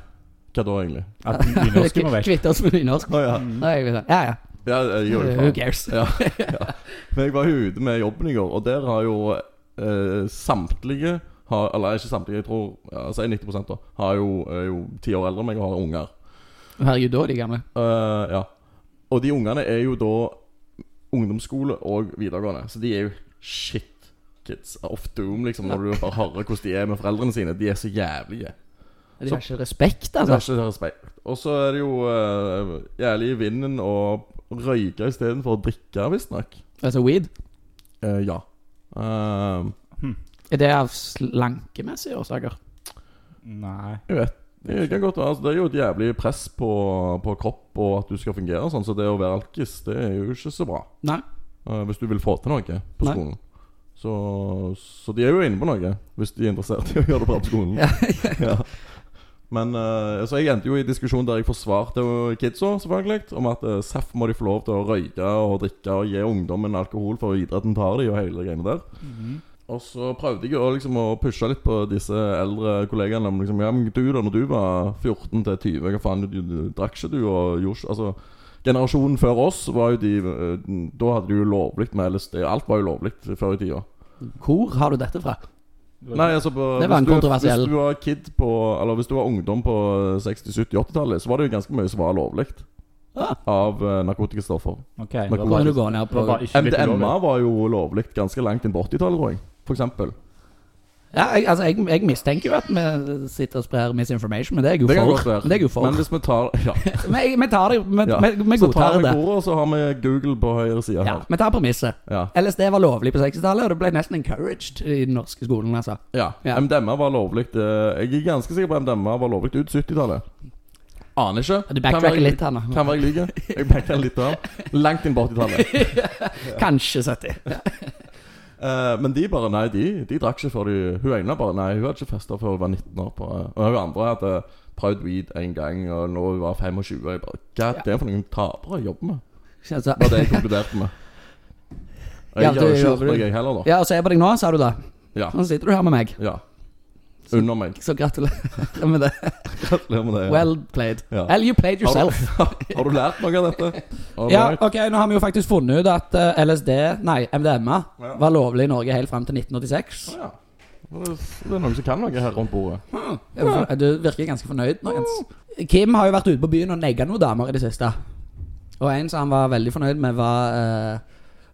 [SPEAKER 3] Hva da, egentlig?
[SPEAKER 1] at nynorsken var vekk.
[SPEAKER 2] Kvitte oss med nynorsk.
[SPEAKER 3] Å ja.
[SPEAKER 2] Da er jeg litt sånn, ja, ja.
[SPEAKER 3] ja jeg gjør jo
[SPEAKER 2] Who
[SPEAKER 3] faen.
[SPEAKER 2] cares?
[SPEAKER 3] Ja, ja. Men jeg var jo ute med jobben i går, og der har jo eh, samtlige har, Eller ikke samtlige, jeg tror ja, Si 90 da. Har jo, er jo ti år eldre enn meg og har unger.
[SPEAKER 2] Herregud, da, de gamle.
[SPEAKER 3] Eh, ja. Og de ungene er jo da ungdomsskole og videregående, så de er jo shit kids of doom, liksom, når du bare hører hvordan de er med foreldrene sine. De er så jævlige.
[SPEAKER 2] De har ikke respekt,
[SPEAKER 3] Det er
[SPEAKER 2] altså.
[SPEAKER 3] ikke respekt. Og så er det jo uh, jævlig i vinden å røyke istedenfor å drikke, visstnok.
[SPEAKER 2] Altså weed.
[SPEAKER 3] Uh, ja. Eh,
[SPEAKER 2] Er det av slankemessige årsaker?
[SPEAKER 1] Nei.
[SPEAKER 3] Jeg vet det kan godt være. Altså, det er jo et jævlig press på, på kropp og at du skal fungere og sånn, så det å være alkis, det er jo ikke så bra.
[SPEAKER 2] Nei.
[SPEAKER 3] Eh, hvis du vil få til noe på
[SPEAKER 2] Nei.
[SPEAKER 3] skolen. Så, så de er jo inne på noe, hvis de er interessert i å gjøre det bra på skolen. ja. Men eh, så jeg endte jo i diskusjon der jeg forsvarte jo kidsa, selvfølgelig, om at eh, SAF må de få lov til å røyke og drikke og gi ungdommen alkohol for idretten tar de og hele greiene der. Og så prøvde jeg jo liksom å pushe litt på disse eldre kollegaene. Om liksom, ja, men du da, når du var 14 til 20, hva faen, du, du, du drakk ikke du og gjorde ikke Altså, generasjonen før oss var jo de eh, Da hadde de jo lovlig med LSD. Alt var jo lovlig før i tida.
[SPEAKER 2] Hvor har du dette fra?
[SPEAKER 3] Nei, altså på,
[SPEAKER 2] Det var en
[SPEAKER 3] hvis du-
[SPEAKER 2] kontroversiell-
[SPEAKER 3] Hvis du var kid på Eller hvis du var ungdom på eh, 60-, 70-, 80-tallet, så var det jo ganske mye som var lovlig
[SPEAKER 2] Ah.
[SPEAKER 3] av eh, narkotikastoffer.
[SPEAKER 1] Ok. det
[SPEAKER 3] Men
[SPEAKER 1] var-
[SPEAKER 3] hvor-
[SPEAKER 2] Kan du gå ned
[SPEAKER 1] det var
[SPEAKER 2] på
[SPEAKER 1] bare ikke litt ulovlig.
[SPEAKER 3] MDMA var jo lovlig ganske langt inn på 80-tallet, tror jeg. For eksempel.
[SPEAKER 2] Ja, jeg, altså, jeg, jeg mistenker jo at vi sitter og sprer misinformation, men det er jeg jo
[SPEAKER 3] Det kan
[SPEAKER 2] for.
[SPEAKER 3] godt være.
[SPEAKER 2] Det er jeg jo for.
[SPEAKER 3] Men hvis vi tar Ja.
[SPEAKER 2] Men jeg- vi tar det, vi,
[SPEAKER 3] Ja.
[SPEAKER 2] vi, vi
[SPEAKER 3] så tar
[SPEAKER 2] godtar
[SPEAKER 3] vi
[SPEAKER 2] det.
[SPEAKER 3] ordet, og så har vi Google på høyre side
[SPEAKER 2] Ja,
[SPEAKER 3] her.
[SPEAKER 2] vi tar premisset.
[SPEAKER 3] Ja.
[SPEAKER 2] LSD var lovlig på 60-tallet, og det ble nesten encouraged i den norske skolen. altså.
[SPEAKER 3] Ja.
[SPEAKER 2] Ja.
[SPEAKER 3] MDMA var lovlig eh, Jeg er ganske sikker på MDMA var lovlig ut 70-tallet. Aner ikke.
[SPEAKER 2] Du backtracker
[SPEAKER 3] Kan være-
[SPEAKER 2] litt her nå.
[SPEAKER 3] Kan være jeg lyver. Jeg backtracker litt her. Langt inn på 80-tallet.
[SPEAKER 2] Kanskje 70.
[SPEAKER 3] Eh, men de bare Nei, de, de drakk ikke før de Hun ene bare Nei, hun hadde ikke festa før hun var 19 år. På, eh, og hun andre hadde prøvd weed en gang, og nå hun var 25. Og jeg bare Hva er det for noen tapere jeg jobber med?
[SPEAKER 2] Altså,
[SPEAKER 3] Det var det jeg konkluderte med. Og
[SPEAKER 2] Ja,
[SPEAKER 3] jeg har jo
[SPEAKER 2] det
[SPEAKER 3] ikke
[SPEAKER 2] gjorde
[SPEAKER 3] gjort noe,
[SPEAKER 2] du.
[SPEAKER 3] jeg heller, da.
[SPEAKER 2] ja, og så er jeg på deg nå, sa du da.
[SPEAKER 3] Ja.
[SPEAKER 2] Nå sitter du her med meg,
[SPEAKER 3] ja. Under meg.
[SPEAKER 2] så gratulerer med det.
[SPEAKER 3] Gratulerer med det. ja.
[SPEAKER 2] Well played.
[SPEAKER 3] Ja.
[SPEAKER 2] Eller you played
[SPEAKER 3] Har
[SPEAKER 2] yourself.
[SPEAKER 3] du, har du lært noe av dette? All
[SPEAKER 2] Ja,
[SPEAKER 3] right.
[SPEAKER 2] ok, Nå har vi jo faktisk funnet ut at eh, LSD, nei, MDMA,
[SPEAKER 3] Ja.
[SPEAKER 2] var lovlig i Norge helt fram til 1986.
[SPEAKER 3] ja. Det det er noen som kan noe her rundt bordet.
[SPEAKER 2] Er Du for- du virker ganske fornøyd nå, Jens. Kim har jo vært ute på byen og negga noen damer i det siste. Og en som han var veldig fornøyd med, var eh,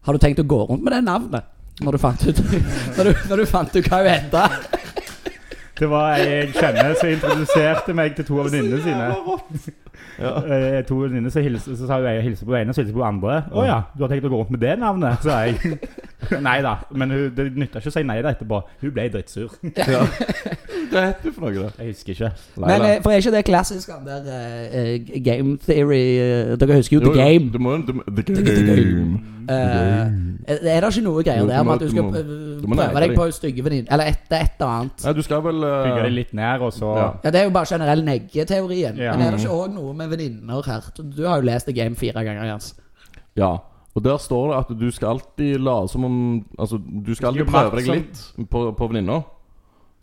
[SPEAKER 2] Har du tenkt å gå rundt med det navnet? Når du fant ut Når du, når du fant ut hva hun heta?
[SPEAKER 1] Det var ei jeg kjenner som introduserte meg til to av venninnene sine. Eh, To venninner som hilser, så sa hun jeg hilser på den ene, så hilser på den andre. 'Å ja, du har tenkt å gå rundt med det navnet?' sa jeg. Nei da. Men hun, det nytta ikke å si nei da etterpå. Hun ble drittsur.
[SPEAKER 3] Ja. Hva heter du for noe, det?
[SPEAKER 1] Jeg husker ikke.
[SPEAKER 2] Men eh, for er ikke det klassisk han der eh, eh, game theory eh, Dere husker jo, The Game.
[SPEAKER 3] Du må, du, må- the
[SPEAKER 2] The
[SPEAKER 3] game.
[SPEAKER 2] Eh, er det ikke noe greier
[SPEAKER 3] Jo, du
[SPEAKER 2] der med
[SPEAKER 3] må-
[SPEAKER 2] at du
[SPEAKER 3] du
[SPEAKER 2] skal
[SPEAKER 3] må-
[SPEAKER 2] eh,
[SPEAKER 3] du må
[SPEAKER 2] prøve
[SPEAKER 3] nege
[SPEAKER 2] deg
[SPEAKER 3] deg.
[SPEAKER 2] på stygge venninner? Eller et, et eller annet?
[SPEAKER 3] Nei, du skal vel eh,
[SPEAKER 1] Bygger det litt ned, og så
[SPEAKER 3] Ja.
[SPEAKER 2] Ja, Det er jo bare generell neggeteorien.
[SPEAKER 1] Ja.
[SPEAKER 2] Men er det ikke òg noe med venninner her? Du, du har jo lest The Game fire ganger, Jens.
[SPEAKER 3] Ja. Og der står det at du skal alltid late som om Altså, du skal alltid
[SPEAKER 1] Gjør
[SPEAKER 3] prøve deg
[SPEAKER 1] oppmerksom.
[SPEAKER 3] litt på, på venninna.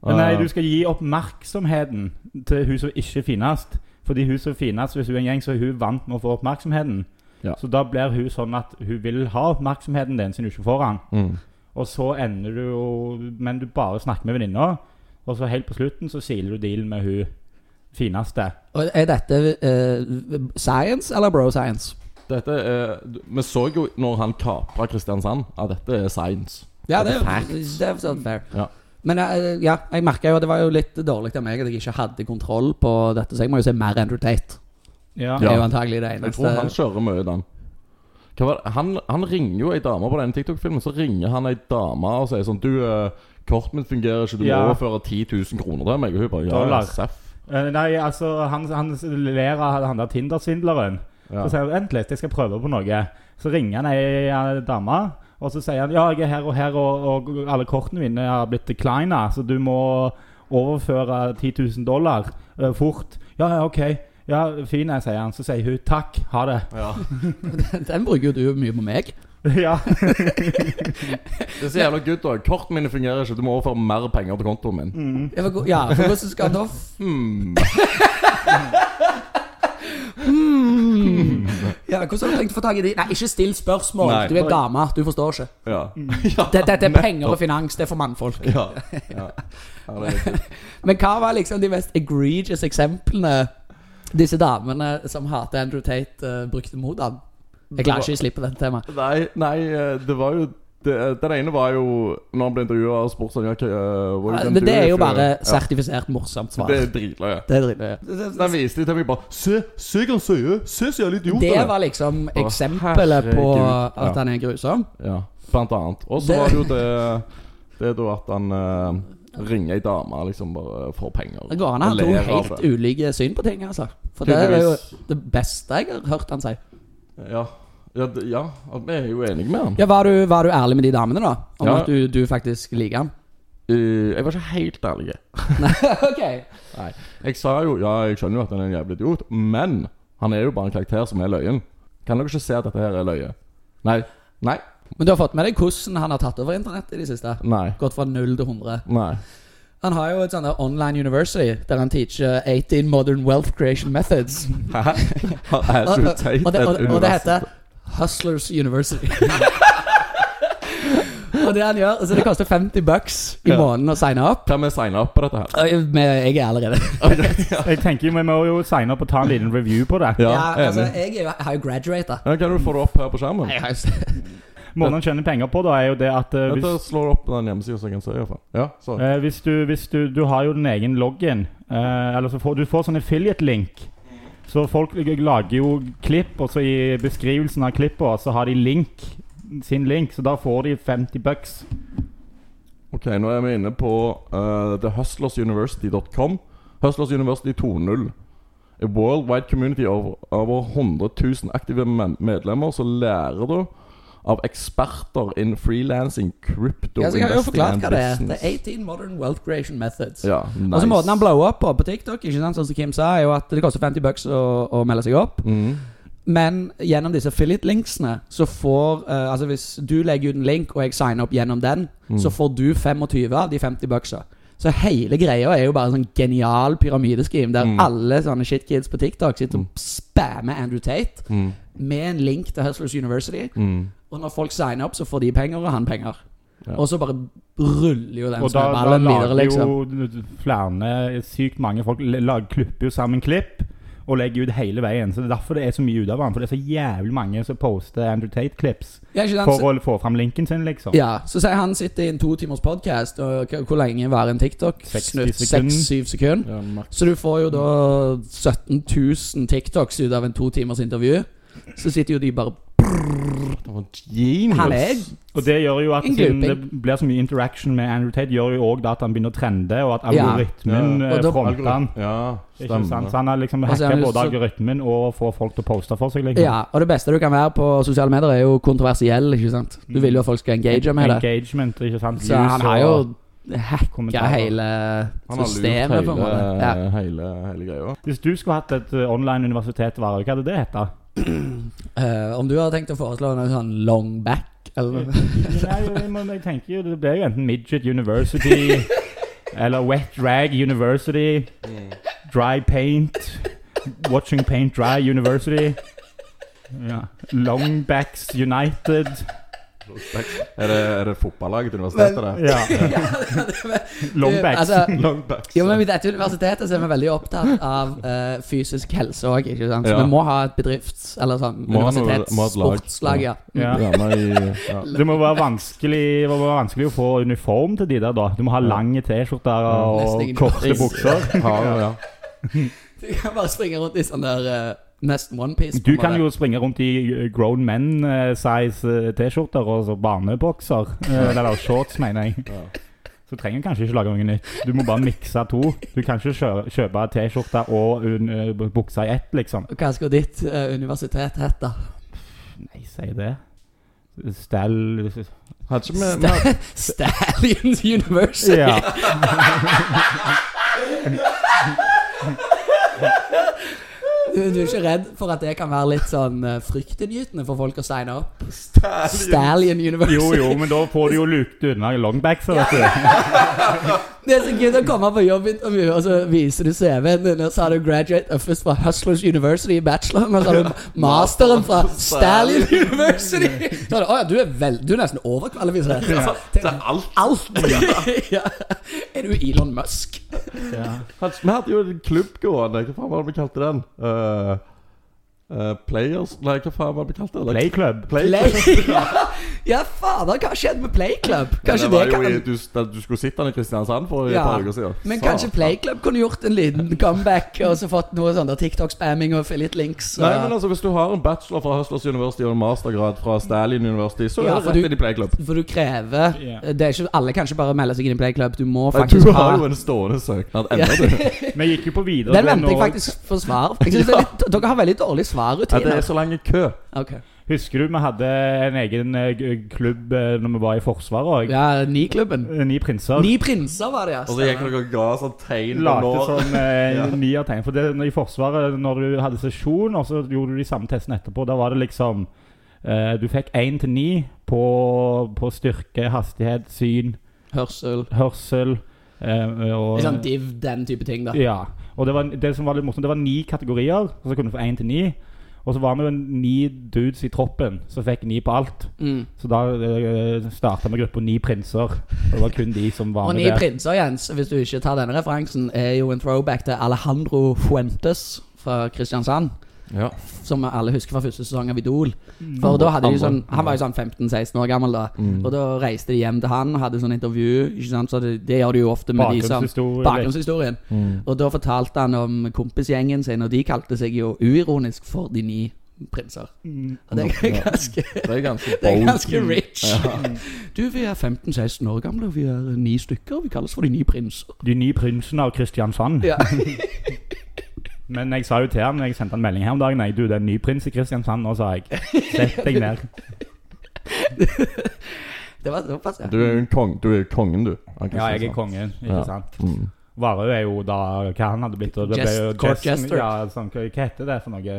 [SPEAKER 1] Men Nei, du
[SPEAKER 3] Eh,
[SPEAKER 1] skal gi oppmerksomheten til hun som ikke er finest. Fordi hun som er finest, hvis hun er en gjeng, så er hun vant med å få oppmerksomheten.
[SPEAKER 3] Ja.
[SPEAKER 1] Så da blir hun sånn at hun vil ha oppmerksomheten din, siden hun ikke får den.
[SPEAKER 3] mm.
[SPEAKER 1] Og så ender du jo Men du bare snakker med venninna, og så helt på slutten så siler du dealen med hun fineste.
[SPEAKER 2] Og Er dette eh, science eller bro science?
[SPEAKER 3] Dette er du- Vi så jo når han kapra Kristiansand, at dette er science.
[SPEAKER 2] Ja,
[SPEAKER 3] det
[SPEAKER 2] det
[SPEAKER 3] er
[SPEAKER 2] er, det er sånn fair.
[SPEAKER 3] Ja.
[SPEAKER 2] Men eh, ja, jeg merka jo at det var jo litt dårlig av meg at jeg ikke hadde kontroll på dette, så jeg må jo se mer Andrew Tate.
[SPEAKER 1] Ja.
[SPEAKER 2] Det
[SPEAKER 3] Ja.
[SPEAKER 2] er jo antagelig det
[SPEAKER 3] Jeg tror han
[SPEAKER 2] eneste.
[SPEAKER 3] kjører mye den. Hva var det? Han, han ringer jo ei dame på den TikTok-filmen. Så ringer han ei dame og sier sånn Du, eh, kortet mitt fungerer ikke, du må
[SPEAKER 1] Ja.
[SPEAKER 3] overføre 10 000 kroner til meg. Og hun bare Ja,
[SPEAKER 1] Dollar.
[SPEAKER 3] ja, seff.
[SPEAKER 1] Eh, Nei, altså, han, han ler av han der Tinder-svindleren.
[SPEAKER 3] Ja.
[SPEAKER 1] Så sier han vent litt, jeg skal prøve på noe. Så ringer han ei eh, dame, og så sier han ja, jeg er her og her, og, og alle kortene mine har blitt declina, så du må overføre 10 000 dollar eh, fort. Ja, ja, OK. Ja, fin jeg, sier han. Så sier hun takk, ha det.
[SPEAKER 2] Den bruker jo du mye på meg.
[SPEAKER 1] ja.
[SPEAKER 3] Det er så jævla good, da. Kortene mine fungerer ikke, du må overføre mer penger til kontoen min.
[SPEAKER 1] Mm.
[SPEAKER 2] Jeg var go- Ja, for hvordan skal han da f-
[SPEAKER 3] Hmm.
[SPEAKER 2] Ja, Hvordan har du tenkt å få tak i de? Nei, ikke still spørsmål.
[SPEAKER 3] Nei.
[SPEAKER 2] du er dame, du forstår ikke.
[SPEAKER 3] Ja.
[SPEAKER 1] Mm.
[SPEAKER 2] Dette dette er penger og finans, det er for mannfolk.
[SPEAKER 3] Ja. ja. ja det er good.
[SPEAKER 2] Men hva var liksom de mest egregious eksemplene disse damene som hater Andrew Tate, eh, brukte mot han? Jeg klarer ikke å slippe dette temaet.
[SPEAKER 3] nei, nei, eh, det var jo det, Den ene var jo Når han ble intervjua og spurt sånn ja, hva, eh, what you
[SPEAKER 2] Ja,
[SPEAKER 3] gonna
[SPEAKER 2] Det,
[SPEAKER 3] do
[SPEAKER 2] det er jo
[SPEAKER 3] if you-
[SPEAKER 2] bare altså.
[SPEAKER 3] ja,
[SPEAKER 2] sertifisert morsomt svar.
[SPEAKER 3] Det
[SPEAKER 2] Det,
[SPEAKER 3] er dritløye.
[SPEAKER 2] er dritløye.
[SPEAKER 3] Den viste de til meg bare Se, se hva han sier! Se så jævlig idiot
[SPEAKER 2] Det
[SPEAKER 3] han er!»
[SPEAKER 2] var liksom eksempelet på
[SPEAKER 3] herregud.
[SPEAKER 2] at han er grusom.
[SPEAKER 3] Ja, blant annet. Og så
[SPEAKER 2] Det-
[SPEAKER 3] var det jo det Det er da at han eh, ringer ei dame liksom bare for penger.
[SPEAKER 2] Det går an å ha
[SPEAKER 3] Og
[SPEAKER 2] to
[SPEAKER 3] ler av
[SPEAKER 2] helt
[SPEAKER 3] det.
[SPEAKER 2] ulike syn på ting, altså. For det er jo
[SPEAKER 3] altså. Tydeligvis.
[SPEAKER 2] det beste jeg har hørt han si.
[SPEAKER 3] Ja. Ja, d- ja, at vi er jo enige med han.
[SPEAKER 2] Ja, Var du, var du ærlig med de damene, da? Om
[SPEAKER 3] Ja.
[SPEAKER 2] at du, du faktisk liker ham?
[SPEAKER 3] Eh, jeg var ikke helt ærlig.
[SPEAKER 2] ok.
[SPEAKER 3] Nei. Jeg sa jo ja, jeg skjønner jo at han er en jævlig idiot, men han er jo bare en karakter som er løyen. Kan dere ikke se at dette her er løye? Nei. Nei.
[SPEAKER 2] Men du har fått med deg hvordan han har tatt over internett i det siste?
[SPEAKER 3] Nei.
[SPEAKER 2] Gått fra 0 til 100.
[SPEAKER 3] Nei.
[SPEAKER 2] Han har jo et sånt der online university der han teacher 18 modern wealth creation methods.
[SPEAKER 3] Hæ? Er
[SPEAKER 2] Og, og,
[SPEAKER 3] ikke teit
[SPEAKER 2] og, det, og,
[SPEAKER 3] et
[SPEAKER 2] og det
[SPEAKER 3] univers?
[SPEAKER 2] heter Hustlers University. og det han gjør altså Det koster 50 bucks i
[SPEAKER 3] Ja.
[SPEAKER 2] måneden å signe opp.
[SPEAKER 3] Kan vi signe opp på dette her?
[SPEAKER 2] Og jeg- Men jeg er allerede
[SPEAKER 1] Jeg tenker jo, Vi må jo signe opp og ta en liten review på det.
[SPEAKER 3] Ja,
[SPEAKER 2] ja, altså,
[SPEAKER 3] enig.
[SPEAKER 2] Jeg er jo- har jo graduata.
[SPEAKER 3] Ja, kan du få det opp her på skjermen?
[SPEAKER 2] Jeg har jo s-
[SPEAKER 1] Måten han tjener penger på, da er jo det at eh,
[SPEAKER 3] Dette
[SPEAKER 1] hvis,
[SPEAKER 3] slår opp den hjemmesida som jeg kan se, iallfall. Ja, så.
[SPEAKER 1] eh, hvis, du, hvis du Du har jo din egen login. eh, eller så får du får sånn affiliate-link. Så folk l- lager jo klipp, og så i beskrivelsen av klippet så har de link sin link, så da får de 50 bucks.
[SPEAKER 3] Ok, nå er vi inne på uh, thehustlersuniversity.com. Hustlers University 2.0. A worldwide community of over 100 000 aktive men- medlemmer som lærer da av eksperter in freelancing, crypto
[SPEAKER 2] Ja, så jeg har jo
[SPEAKER 3] investing
[SPEAKER 2] forklart
[SPEAKER 3] and
[SPEAKER 2] hva det er. Det
[SPEAKER 3] business.
[SPEAKER 2] er 18 modern wealth creation methods.
[SPEAKER 3] Ja, nice.
[SPEAKER 2] Og så Måten han blower opp på på TikTok, Ikke sant, sånn som Kim sa er jo at det koster 50 bucks å, å melde seg opp.
[SPEAKER 3] Mhm.
[SPEAKER 2] Men gjennom disse affiliate-linksene så får eh, Altså hvis du legger ut en link, og jeg signer opp gjennom den,
[SPEAKER 1] Mm.
[SPEAKER 2] så får du 25 av de 50 bucksa. Så hele greia er jo bare en sånn genial pyramideskim der
[SPEAKER 1] Mm.
[SPEAKER 2] alle sånne shitkids på TikTok sitter og spammer Andrew Tate
[SPEAKER 3] mm,
[SPEAKER 2] med en link til Hustlers University. Og når folk signer opp, så får de penger, og han penger.
[SPEAKER 3] Ja.
[SPEAKER 2] Og så bare ruller jo den
[SPEAKER 1] Og da, da
[SPEAKER 2] snøballen videre,
[SPEAKER 1] lager
[SPEAKER 2] liksom.
[SPEAKER 1] jo flere eh, Sykt mange folk l- lag, klipper jo sammen klipp og legger ut hele veien. Så Det er derfor det er så mye ut av han. For det er så jævlig mange som poster Andrew Tate-klips
[SPEAKER 2] Ja, ikke sant?
[SPEAKER 1] for å få fram linken sin, liksom.
[SPEAKER 2] Ja, så sier han sitter i en to timers podcast Og k- hvor lenge var en TikTok?
[SPEAKER 1] 60
[SPEAKER 2] Snutt,
[SPEAKER 1] sekunder.
[SPEAKER 2] 6-7 sekunder
[SPEAKER 3] Ja, maks.
[SPEAKER 2] Så du får jo da 17 000 TikToks ut av en to timers intervju Så sitter jo de bare
[SPEAKER 3] Han var Genius.
[SPEAKER 2] Han er
[SPEAKER 1] Og det gjør jo at
[SPEAKER 2] En
[SPEAKER 1] siden det
[SPEAKER 2] grouping.
[SPEAKER 1] blir så mye interaction med Andrew Tate, gjør jo òg at han begynner å trende, og at
[SPEAKER 2] Ja.
[SPEAKER 1] algoritmen
[SPEAKER 3] Ja.
[SPEAKER 1] eh,
[SPEAKER 2] Og da-
[SPEAKER 1] fronter han.
[SPEAKER 3] Ja,
[SPEAKER 1] Ikke sant? Så
[SPEAKER 3] stemmer.
[SPEAKER 1] han har liksom
[SPEAKER 2] Altså,
[SPEAKER 1] hacka
[SPEAKER 2] han er
[SPEAKER 1] både
[SPEAKER 2] så-
[SPEAKER 1] algoritmen og får folk til å poste for seg, liksom.
[SPEAKER 2] Ja, og det beste du kan være på sosiale medier Er jo kontroversiell, ikke sant? Du vil jo at folk skal engage med det
[SPEAKER 1] Engagement, ikke sant.
[SPEAKER 2] Så han har jo hacka
[SPEAKER 1] kommentarer.
[SPEAKER 2] hele
[SPEAKER 3] Han har lurt
[SPEAKER 2] systemet på en måte
[SPEAKER 3] hele,
[SPEAKER 2] ja.
[SPEAKER 3] hele, hele greia.
[SPEAKER 1] Hvis du skulle hatt et eh, online universitet, hva hadde det hett?
[SPEAKER 2] Eh, Om du har tenkt å foreslå noe sånn long back Eller
[SPEAKER 1] Nei, jeg må- jeg tenker jo Det blir jo enten Midget University eller Wet Drag University. Dry Paint. Watching Paint Dry University. Ja. Longbacks United.
[SPEAKER 3] Er det, er det fotballaget til universitetet, det?
[SPEAKER 1] Ja. Longbacks.
[SPEAKER 2] Altså,
[SPEAKER 3] Longbacks.
[SPEAKER 2] Jo, men I dette universitetet så er vi veldig opptatt av eh, fysisk helse òg. Så
[SPEAKER 3] Ja.
[SPEAKER 2] vi må ha et bedrifts- eller sånn
[SPEAKER 3] Må ha noe- må ha et lag.
[SPEAKER 2] universitetssportslag. Ja.
[SPEAKER 1] ja.
[SPEAKER 3] Gjerne i ja.
[SPEAKER 1] Det må være vanskelig, det må være vanskelig å få uniform til de der, da. Du må ha lange T-skjorter og
[SPEAKER 2] Mm. Nesten ingen-
[SPEAKER 1] korte bukser.
[SPEAKER 3] Ja, ja, ja.
[SPEAKER 2] Du kan bare springe rundt i sånn der eh, nesten onepiece.
[SPEAKER 1] Du kan jo springe rundt i eh, grown men-size eh, T-skjorter og så barnebokser. eh, Eller shorts, mener jeg. Så trenger du kanskje ikke lage noe nytt. Du må bare mikse to. Du kan ikke kjø- kjøpe T-skjorte og un- eh, b- bukse i ett, liksom.
[SPEAKER 2] Hva skal ditt eh, universitet hete?
[SPEAKER 1] Nei, si det. Stell
[SPEAKER 3] Hadde ikke vi- vi hadde-
[SPEAKER 2] Stallions University.
[SPEAKER 1] Ja.
[SPEAKER 2] Du, du er ikke redd for at det kan være litt sånn eh, fryktinngytende for folk å signe opp? Stallion University.
[SPEAKER 1] Jo, jo, men da får du jo lukt unna longbacks, vet du.
[SPEAKER 2] Det er så gøy å komme på jobbintervju, og så viser du CV-en din, og så har du graduate først fra Hustlers University i bacheloren, og så har du masteren fra Stalin University. Så er det, Å ja, du er, vel, du er nesten overkvalifisert. Altså, til alt. ja. Er du Elon Musk?
[SPEAKER 1] Ja.
[SPEAKER 3] hadde- Vi hadde jo en klubb gående. Hva faen var det vi kalte den? Eh, eh, Players Nei, hva faen var det kalt? det?
[SPEAKER 1] Playclub.
[SPEAKER 2] Play Ja, fader, hva skjedde med Playclub? Kanskje det,
[SPEAKER 3] det var jo i,
[SPEAKER 2] kan
[SPEAKER 3] du, da, du skulle sitte den i Kristiansand for et
[SPEAKER 2] ja.
[SPEAKER 3] par uker siden.
[SPEAKER 2] Men kanskje Playclub kunne gjort en liten comeback og så fått noe sånn der TikTok-spamming og litt links. Og...
[SPEAKER 3] Nei, men altså Hvis du har en bachelor fra Hustlers University og en mastergrad fra Stalin University, så
[SPEAKER 2] Ja, for
[SPEAKER 3] er det rett
[SPEAKER 2] du-
[SPEAKER 3] inn i Playklubb.
[SPEAKER 2] For du krever eh,
[SPEAKER 1] Ja.
[SPEAKER 2] Det er ikke Alle kan ikke bare melde seg inn i Playclub. Du må
[SPEAKER 3] Du
[SPEAKER 2] faktisk
[SPEAKER 3] har jo
[SPEAKER 2] ha
[SPEAKER 3] en stående søknad
[SPEAKER 2] Ja.
[SPEAKER 3] ennå, du.
[SPEAKER 1] Vi gikk jo på videre
[SPEAKER 2] Den venter jeg faktisk for svar. Jeg synes det er litt, dere har veldig dårlige
[SPEAKER 3] Ja, det
[SPEAKER 2] svarrutiner.
[SPEAKER 3] er så lang kø.
[SPEAKER 2] Ok.
[SPEAKER 1] Husker du vi hadde en egen eh, g- klubb eh, Når vi var i Forsvaret òg?
[SPEAKER 2] Ja, Ni-klubben.
[SPEAKER 1] Ni prinser.
[SPEAKER 2] Ni prinser var det, ja.
[SPEAKER 3] Og så gikk dere og ga sånn tegn på
[SPEAKER 1] Lagde
[SPEAKER 3] lår.
[SPEAKER 1] sånn eh, niertegn. For det, når, i Forsvaret, når du hadde sesjon, og så gjorde du de samme testene etterpå, da var det liksom eh, Du fikk én til ni på, på styrke, hastighet, syn,
[SPEAKER 2] Hørsel.
[SPEAKER 1] hørsel eh, og
[SPEAKER 2] Litt sånn div, den type ting, da.
[SPEAKER 1] Ja. Og det, var, det som var litt morsomt, det var ni kategorier, og så kunne du få én til ni. Og så var vi jo ni dudes i troppen som fikk ni på alt.
[SPEAKER 2] Mm.
[SPEAKER 1] Så da uh, starta vi gruppa Ni prinser. Og det var kun de som var
[SPEAKER 2] Og
[SPEAKER 1] med
[SPEAKER 2] Ni
[SPEAKER 1] der.
[SPEAKER 2] prinser, Jens, hvis du ikke tar denne referansen, er jo en throwback til Alejandro Fuentes fra Kristiansand.
[SPEAKER 3] Ja.
[SPEAKER 2] Som alle husker fra første sesong av Idol. For da hadde de
[SPEAKER 3] Andre.
[SPEAKER 2] sånn Han var jo sånn 15-16 år gammel, da.
[SPEAKER 3] Mm.
[SPEAKER 2] Og da reiste de hjem til han og hadde sånn intervju. Ikke sant? Så det, det gjør du jo ofte med de som
[SPEAKER 1] Bakgrunnshistorie.
[SPEAKER 2] Bakgrunnshistorien.
[SPEAKER 3] Mm.
[SPEAKER 2] Og da fortalte han om kompisgjengen sin, og de kalte seg jo uironisk for De ni prinser. Og det er ganske
[SPEAKER 3] Det er ganske
[SPEAKER 2] det er
[SPEAKER 3] bold.
[SPEAKER 2] ganske rich. Du, vi er 15-16 år gamle, og vi er ni stykker. Vi kalles for de ni prinser.
[SPEAKER 1] De ni prinsene av Kristiansand.
[SPEAKER 2] Ja.
[SPEAKER 1] Men jeg sa jo til han jeg sendte en melding her om dagen jeg, Du, det er en ny prins i Kristiansand nå, sa jeg. Sett deg ned.
[SPEAKER 2] Det var såpass, ja.
[SPEAKER 3] Du er jo en kong, du er jo kongen, du. av
[SPEAKER 1] Ja, jeg er
[SPEAKER 3] Kristiansand.
[SPEAKER 1] kongen, ikke
[SPEAKER 3] Ja.
[SPEAKER 1] sant.
[SPEAKER 3] Mm.
[SPEAKER 1] Varhaug er jo da hva han hadde blitt. Og det ble
[SPEAKER 2] Jest-
[SPEAKER 1] jo
[SPEAKER 2] court
[SPEAKER 1] Jesten,
[SPEAKER 2] jester.
[SPEAKER 1] Ja, sånn, hva hva heter det for noe?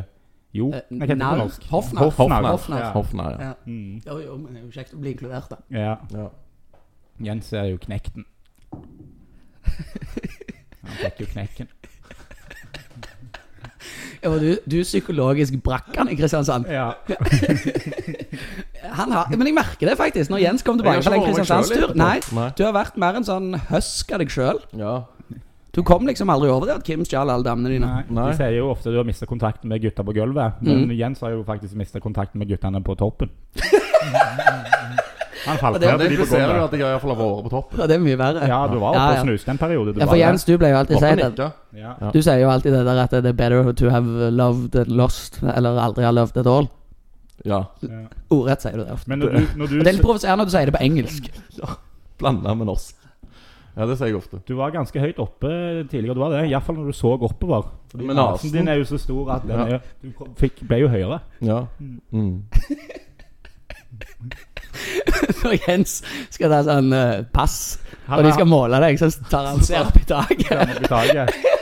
[SPEAKER 1] Jo,
[SPEAKER 2] Eh,
[SPEAKER 1] hva heter det på
[SPEAKER 2] navn?
[SPEAKER 1] norsk?
[SPEAKER 2] Hoffnarr.
[SPEAKER 1] Hoffnarr.
[SPEAKER 2] Hoffnarr.
[SPEAKER 1] Ja.
[SPEAKER 3] Hoffner, ja.
[SPEAKER 2] ja. Jo, jo, men det er jo kjekt å bli inkludert, da.
[SPEAKER 1] Ja.
[SPEAKER 3] ja.
[SPEAKER 1] Jens er jo knekten. Han fikk jo knekken.
[SPEAKER 2] Ja, og du, du psykologisk brakk han i Kristiansand.
[SPEAKER 1] Ja.
[SPEAKER 2] Han har, men jeg merker det faktisk, når Jens kom tilbake
[SPEAKER 3] Jeg har
[SPEAKER 2] fra
[SPEAKER 3] ikke
[SPEAKER 2] den
[SPEAKER 3] vært meg selv
[SPEAKER 2] Kristiansandstur.
[SPEAKER 3] etterpå.
[SPEAKER 2] Nei,
[SPEAKER 3] Nei.
[SPEAKER 2] du har vært mer en sånn husk av deg sjøl.
[SPEAKER 3] ja.
[SPEAKER 2] Du kom liksom aldri over det at Kim stjal alle damene dine.
[SPEAKER 1] Nei.
[SPEAKER 3] Nei.
[SPEAKER 1] De sier jo ofte du har mista kontakten med gutta på gulvet, men Jens har jo faktisk mista kontakten med guttene på toppen. Han falt
[SPEAKER 2] det-
[SPEAKER 1] ned på de
[SPEAKER 3] Det
[SPEAKER 1] på
[SPEAKER 3] impliserer jo
[SPEAKER 1] gulvet.
[SPEAKER 3] at jeg iallfall har vært på toppen.
[SPEAKER 2] Ja, det er mye verre.
[SPEAKER 1] Ja, du var oppe
[SPEAKER 2] Ja, ja.
[SPEAKER 1] og snuste en periode. Du
[SPEAKER 2] Ja,
[SPEAKER 1] var
[SPEAKER 2] for Jens, du pleier jo alltid å si
[SPEAKER 3] Toppen
[SPEAKER 2] det.
[SPEAKER 3] ikke.
[SPEAKER 1] det. Ja.
[SPEAKER 3] Ja.
[SPEAKER 2] Du sier jo alltid det der at det er better to have loved and lost, eller aldri har loved at all.
[SPEAKER 3] Ja.
[SPEAKER 2] Ordrett sier du det ofte.
[SPEAKER 1] Men når du, når
[SPEAKER 2] Og Det er
[SPEAKER 1] du,
[SPEAKER 2] litt provoserende at du sier det på engelsk.
[SPEAKER 3] Blanda med norsk. Ja, det sier jeg ofte.
[SPEAKER 1] du var ganske høyt oppe tidligere, du var det. Iallfall når du så oppover. Fordi
[SPEAKER 3] Men
[SPEAKER 1] nasen
[SPEAKER 3] nasen-
[SPEAKER 1] din er jo så stor at den
[SPEAKER 3] Ja.
[SPEAKER 1] er, du kom- fikk, ble jo høyere.
[SPEAKER 3] Ja. Mm.
[SPEAKER 2] Når Jens skal ta sånn eh, pass,
[SPEAKER 1] Han
[SPEAKER 2] og de
[SPEAKER 1] er-
[SPEAKER 2] skal måle deg, så tar han seg opp i taket.
[SPEAKER 1] Gammel bedrager.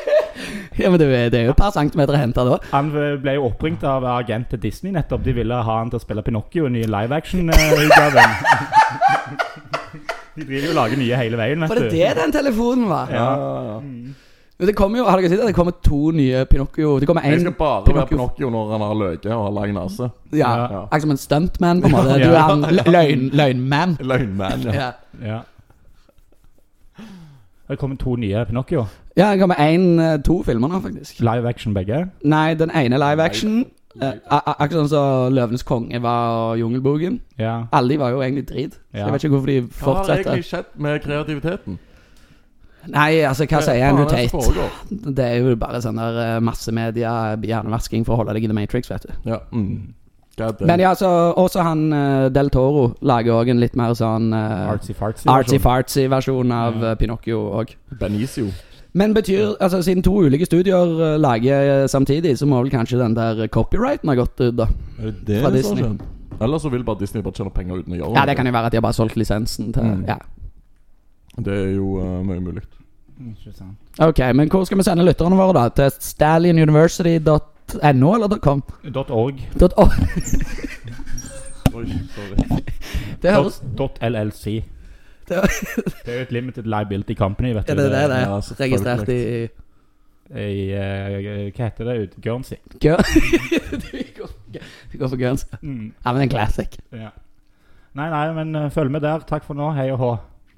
[SPEAKER 2] Ja, men det er jo- det er jo et par centimeter å hente da.
[SPEAKER 1] Han ble jo oppringt av agent til Disney nettopp. De ville ha han til å spille Pinocchio i nye live action-utgaven. De driver jo og lager nye hele veien,
[SPEAKER 2] For det
[SPEAKER 1] vet du.
[SPEAKER 2] er det den telefonen var.
[SPEAKER 3] Ja, Mm. ja, ja.
[SPEAKER 2] Men Det kommer jo, har dere sett det? Det kommer to nye Pinocchio. Det kommer en
[SPEAKER 3] Jeg skal bare være Pinocchio når han har løke og har lang nese.
[SPEAKER 2] Ja,
[SPEAKER 3] Ja.
[SPEAKER 2] Akkurat som en stuntman, på en måte.
[SPEAKER 1] Ja.
[SPEAKER 2] Du er han løgn, løgnman.
[SPEAKER 3] Løgnmann. Ja.
[SPEAKER 2] Ja.
[SPEAKER 1] Ja. Det kommer to nye Pinocchio.
[SPEAKER 2] ja, det kommer en, eh, to filmer nå, faktisk.
[SPEAKER 1] Live action begge.
[SPEAKER 2] Nei, den ene er live action. Eh, a- a- akkurat sånn som Løvenes konge var og Jungelboken.
[SPEAKER 1] Ja.
[SPEAKER 2] Alle de var jo egentlig drit. Så
[SPEAKER 1] Ja.
[SPEAKER 2] jeg vet ikke hvorfor de
[SPEAKER 3] Hva har egentlig
[SPEAKER 2] fortsetter.
[SPEAKER 3] skjedd med kreativiteten?
[SPEAKER 2] Nei, altså, hva sier jeg nå,
[SPEAKER 3] Faen, det er som
[SPEAKER 2] Tate?
[SPEAKER 3] foregår.
[SPEAKER 2] Det er jo bare sånn der eh, massemedia, hjernevasking for å holde deg i The Matrix, vet du.
[SPEAKER 3] Ja. Mm. God damn.
[SPEAKER 2] Men ja, så også han eh, Del Toro lager òg en litt mer sånn eh,
[SPEAKER 1] Artsy-fartsy.
[SPEAKER 2] Artsy-fartsy versjon av eh, Pinocchio òg.
[SPEAKER 3] Benicio.
[SPEAKER 2] Men betyr, altså siden to ulike studier eh, lager eh, samtidig, så må vel kanskje den der eh, copyrighten ha gått ut, da.
[SPEAKER 3] Er det det
[SPEAKER 2] Fra
[SPEAKER 3] som har
[SPEAKER 2] Disney.
[SPEAKER 3] skjedd? Eller så vil bare Disney bare tjene penger uten å gjøre
[SPEAKER 2] Ja, Mm. det kan jo være at de har bare solgt lisensen til Ja.
[SPEAKER 3] Det er jo eh, mye mulig.
[SPEAKER 2] Ok, men hvor skal vi sende lytterne våre, da? Til stallion.university.no eller .com?
[SPEAKER 1] Dot .org.
[SPEAKER 2] Dot- Å,
[SPEAKER 3] Oi, sorry.
[SPEAKER 2] det høres
[SPEAKER 1] Dot, dot LLC.
[SPEAKER 2] det,
[SPEAKER 1] Det er jo et limited liability company, vet du.
[SPEAKER 2] Er det det det er?
[SPEAKER 3] Ja, selvfølgelig.
[SPEAKER 2] Registrert i
[SPEAKER 1] I, eh, hva heter det? ut- Guernsey.
[SPEAKER 2] Gø- Du går for Gø- Du går for Guernsey. Ja, men en classic.
[SPEAKER 1] Ja. Nei, nei, men eh, følg med der. Takk for nå. Hei og hå.